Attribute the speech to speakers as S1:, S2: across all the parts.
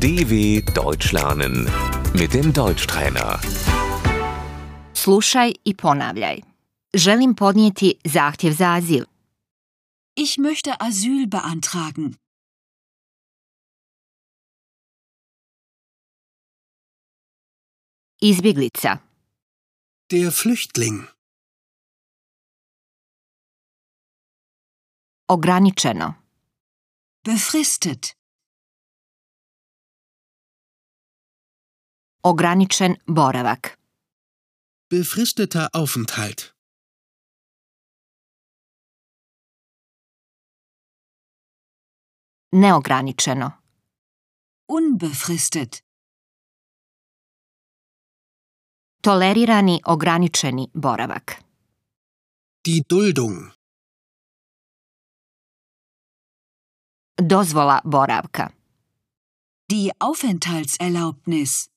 S1: DW Deutsch lernen mit dem Deutschtrainer.
S2: Slušaj i ponavljaj. Želim podnijeti zahtjev za azil.
S3: Ich möchte Asyl beantragen.
S2: Izbjeglica.
S4: Der Flüchtling.
S2: Ograničeno.
S3: Befristet.
S2: Ograničen boravak.
S4: Befristeter Aufenthalt.
S2: Neograničeno.
S3: Unbefristet.
S2: Tolerirani ograničeni boravak.
S4: Die Duldung.
S2: Dozvola boravka.
S3: Die Aufenthaltserlaubnis.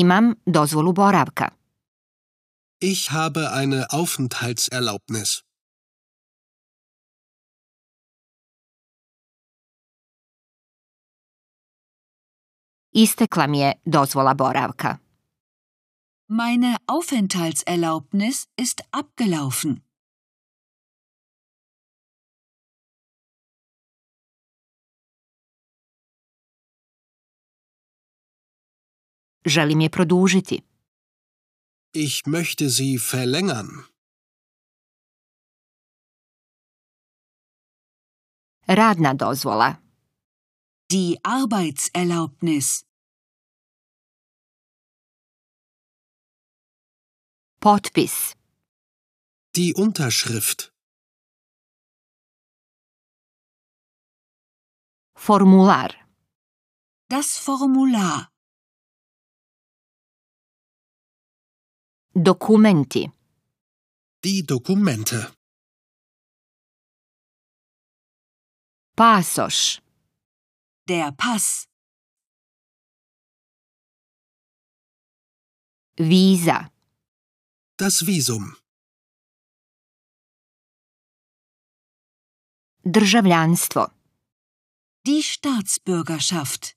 S2: Imam dozvolu boravka.
S4: Ich habe eine Aufenthaltserlaubnis.
S2: Istekla mi je dozvola boravka.
S3: Meine Aufenthaltserlaubnis ist abgelaufen.
S2: Želim je produžiti.
S4: Ich möchte sie verlängern.
S2: Radna dozvola.
S3: Die Arbeitserlaubnis.
S2: Potpis.
S4: Die Unterschrift.
S2: Formular.
S3: Das Formular.
S2: Dokumenti.
S4: Die Dokumente.
S2: Pasoš.
S3: Der Pass.
S2: Viza.
S4: Das Visum.
S2: Državljanstvo.
S3: Die Staatsbürgerschaft.